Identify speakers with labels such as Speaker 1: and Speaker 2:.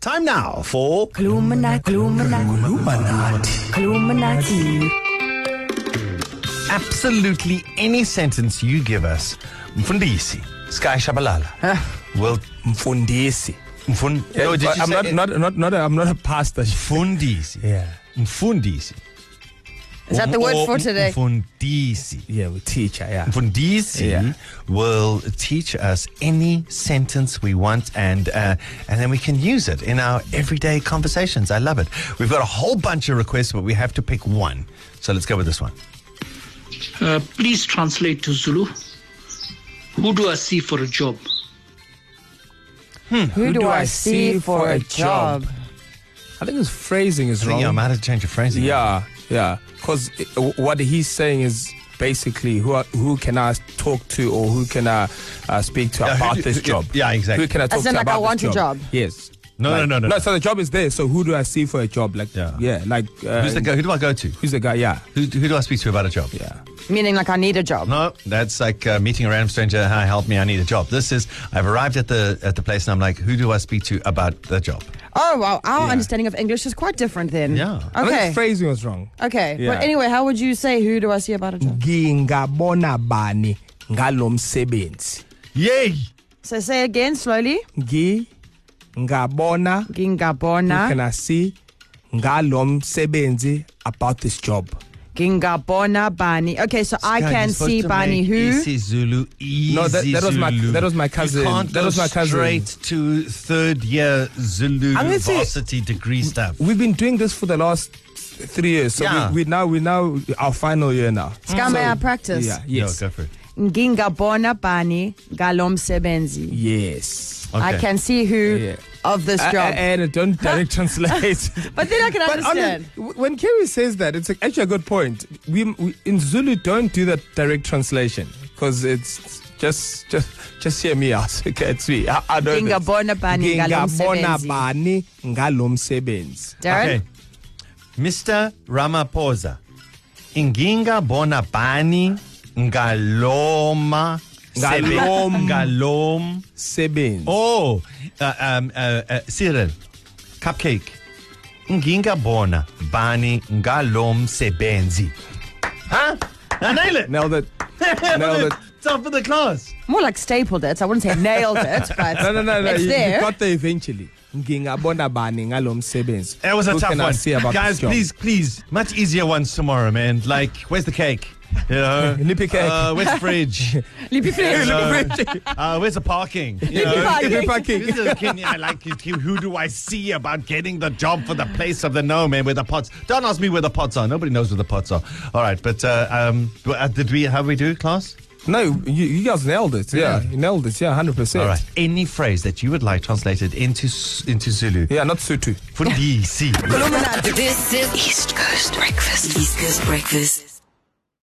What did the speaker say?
Speaker 1: Time now for
Speaker 2: Gloominati, Gloominati,
Speaker 1: Illuminati.
Speaker 2: Gloominati.
Speaker 1: Absolutely any sentence you give us, Mfundisi, Sky Shabalala, will
Speaker 3: Mfundisi.
Speaker 1: Mfun. No, did you
Speaker 3: I'm
Speaker 1: say
Speaker 3: not,
Speaker 1: it?
Speaker 3: not, not, not, a, I'm not a pastor.
Speaker 1: Mfundisi.
Speaker 3: Yeah.
Speaker 1: Mfundisi.
Speaker 4: Is that the word
Speaker 1: Or
Speaker 4: for today?
Speaker 1: Mfundisi.
Speaker 3: Yeah, we teacher, yeah.
Speaker 1: Mfundisi
Speaker 3: Yeah.
Speaker 1: will teach us any sentence we want, and uh, and then we can use it in our everyday conversations. I love it. We've got a whole bunch of requests, but we have to pick one. So let's go with this one.
Speaker 5: Uh, please translate to Zulu. Who do I see for a job?
Speaker 4: Who do I see for a job?
Speaker 3: I think his phrasing is
Speaker 1: I think, yeah, I
Speaker 3: wrong.
Speaker 1: might have to change your phrasing.
Speaker 3: Yeah, yeah. Because what he's saying is basically who I- who can I talk to or who can I uh, speak to
Speaker 1: Yeah, who
Speaker 3: about
Speaker 1: do-
Speaker 3: this
Speaker 1: who-
Speaker 3: job?
Speaker 1: yeah, exactly.
Speaker 3: Who can I talk
Speaker 4: As in,
Speaker 3: to
Speaker 4: like,
Speaker 3: about
Speaker 4: I want
Speaker 3: this
Speaker 4: a
Speaker 3: job?
Speaker 4: job.
Speaker 3: Yes.
Speaker 1: No,
Speaker 3: Like-
Speaker 1: no, no, no,
Speaker 3: No, so the job is there. So who do I see for a job? Like,
Speaker 1: Yeah.
Speaker 3: yeah, like uh,
Speaker 1: Who's the guy? Who do I go to?
Speaker 3: Who's the guy? Yeah,
Speaker 1: Who, who do I speak to about a job?
Speaker 3: yeah.
Speaker 4: Meaning, like, I need a job.
Speaker 1: No, that's like uh, meeting a random stranger. Hi, help me! I need a job. This is I've arrived at the at the place, and I'm like, who do I speak to about the job?
Speaker 4: Oh, wow. Our understanding of English is quite different then.
Speaker 1: Yeah.
Speaker 3: I think
Speaker 4: Okay.
Speaker 3: his phrasing was wrong.
Speaker 4: Okay.
Speaker 3: Yeah.
Speaker 4: But anyway, how would you say, who do I see about a job?
Speaker 3: Ngingabona bani ngalomsebenzi.
Speaker 1: Yay!
Speaker 4: So say again slowly.
Speaker 3: Ngingabona who can
Speaker 4: Gingabona.
Speaker 3: I see ngalomsebenzi about this job?
Speaker 4: Gingabona Bani. Okay, so I
Speaker 1: Guy,
Speaker 4: can
Speaker 1: you're supposed
Speaker 4: see
Speaker 1: to
Speaker 4: Bani
Speaker 1: make
Speaker 4: who?
Speaker 1: Easy Zulu, easy
Speaker 3: No, that- that was my-
Speaker 1: Zulu.
Speaker 3: that was my
Speaker 1: You
Speaker 3: cousin.
Speaker 1: can't
Speaker 3: That
Speaker 1: go
Speaker 3: was my cousin.
Speaker 1: Straight to third year Zulu
Speaker 3: I'm gonna say-
Speaker 1: varsity degree stuff.
Speaker 3: We've been doing this for the last three years, so
Speaker 1: Yeah.
Speaker 3: we, we now we now our final year now.
Speaker 4: Scam
Speaker 3: So-
Speaker 4: our practice.
Speaker 3: Yeah. Yes.
Speaker 1: No, go for it.
Speaker 4: Gingabona Bani Galom Sebenzi.
Speaker 3: yes.
Speaker 4: I
Speaker 1: Okay.
Speaker 4: can see who
Speaker 3: Yeah.
Speaker 4: of this
Speaker 3: A-
Speaker 4: job.
Speaker 3: a- and it don't direct translate.
Speaker 4: but then I can
Speaker 3: But I mean,
Speaker 4: understand.
Speaker 3: w- when Kerry says that, it's like actually a good point. We, we in Zulu don't do that direct translation because it's just just just hear me out. Okay, it's me. I, I don't.
Speaker 4: Ngingabona bani ngalomsebenzi.
Speaker 3: bani ngalomsebenzi.
Speaker 1: Okay.
Speaker 4: Darren?
Speaker 1: Mr. Ramaphosa, inginga bona bani ngaloma sebe-
Speaker 3: Ngalom.
Speaker 1: ngalom.
Speaker 3: Sebenzi.
Speaker 1: Oh, uh, um, uh, uh, Cyril, cupcake. Nginga bona bani ngalom sebenzi. Huh? I nailed it.
Speaker 3: Now that. nailed it.
Speaker 1: Top of the class.
Speaker 4: More like stapled it. I wouldn't say nailed it, but
Speaker 3: No, no, no, no.
Speaker 4: it's
Speaker 3: You, you
Speaker 4: there.
Speaker 3: got there eventually. Ngingabona bani ngalomsebenzi.
Speaker 1: That was a
Speaker 3: Who
Speaker 1: tough
Speaker 3: can I
Speaker 1: one.
Speaker 3: say about
Speaker 1: Guys,
Speaker 3: this job?
Speaker 1: please, please, much easier ones tomorrow, man. Like, where's the cake? You know,
Speaker 3: Lippy cake.
Speaker 1: Uh, where's the fridge?
Speaker 4: Lippy
Speaker 1: You
Speaker 4: Fritz.
Speaker 1: know, uh, where's the parking? You know?
Speaker 4: Lippy Park.
Speaker 3: Parking.
Speaker 1: This is- can- I like it. Who do I see about getting the job for the place of the no man where the pots? Don't ask me where the pots are. Nobody knows where the pots are. All right, but uh, um, but, uh, did we how we do class?
Speaker 3: No, you, you guys nailed it. Yeah,
Speaker 1: Yeah.
Speaker 3: you nailed it. Yeah, hundred percent.
Speaker 1: All right. Any phrase that you would like translated into S- into Zulu
Speaker 3: Yeah, not Sutu.
Speaker 1: for DC.
Speaker 6: This is East Coast Breakfast. East Coast Breakfast.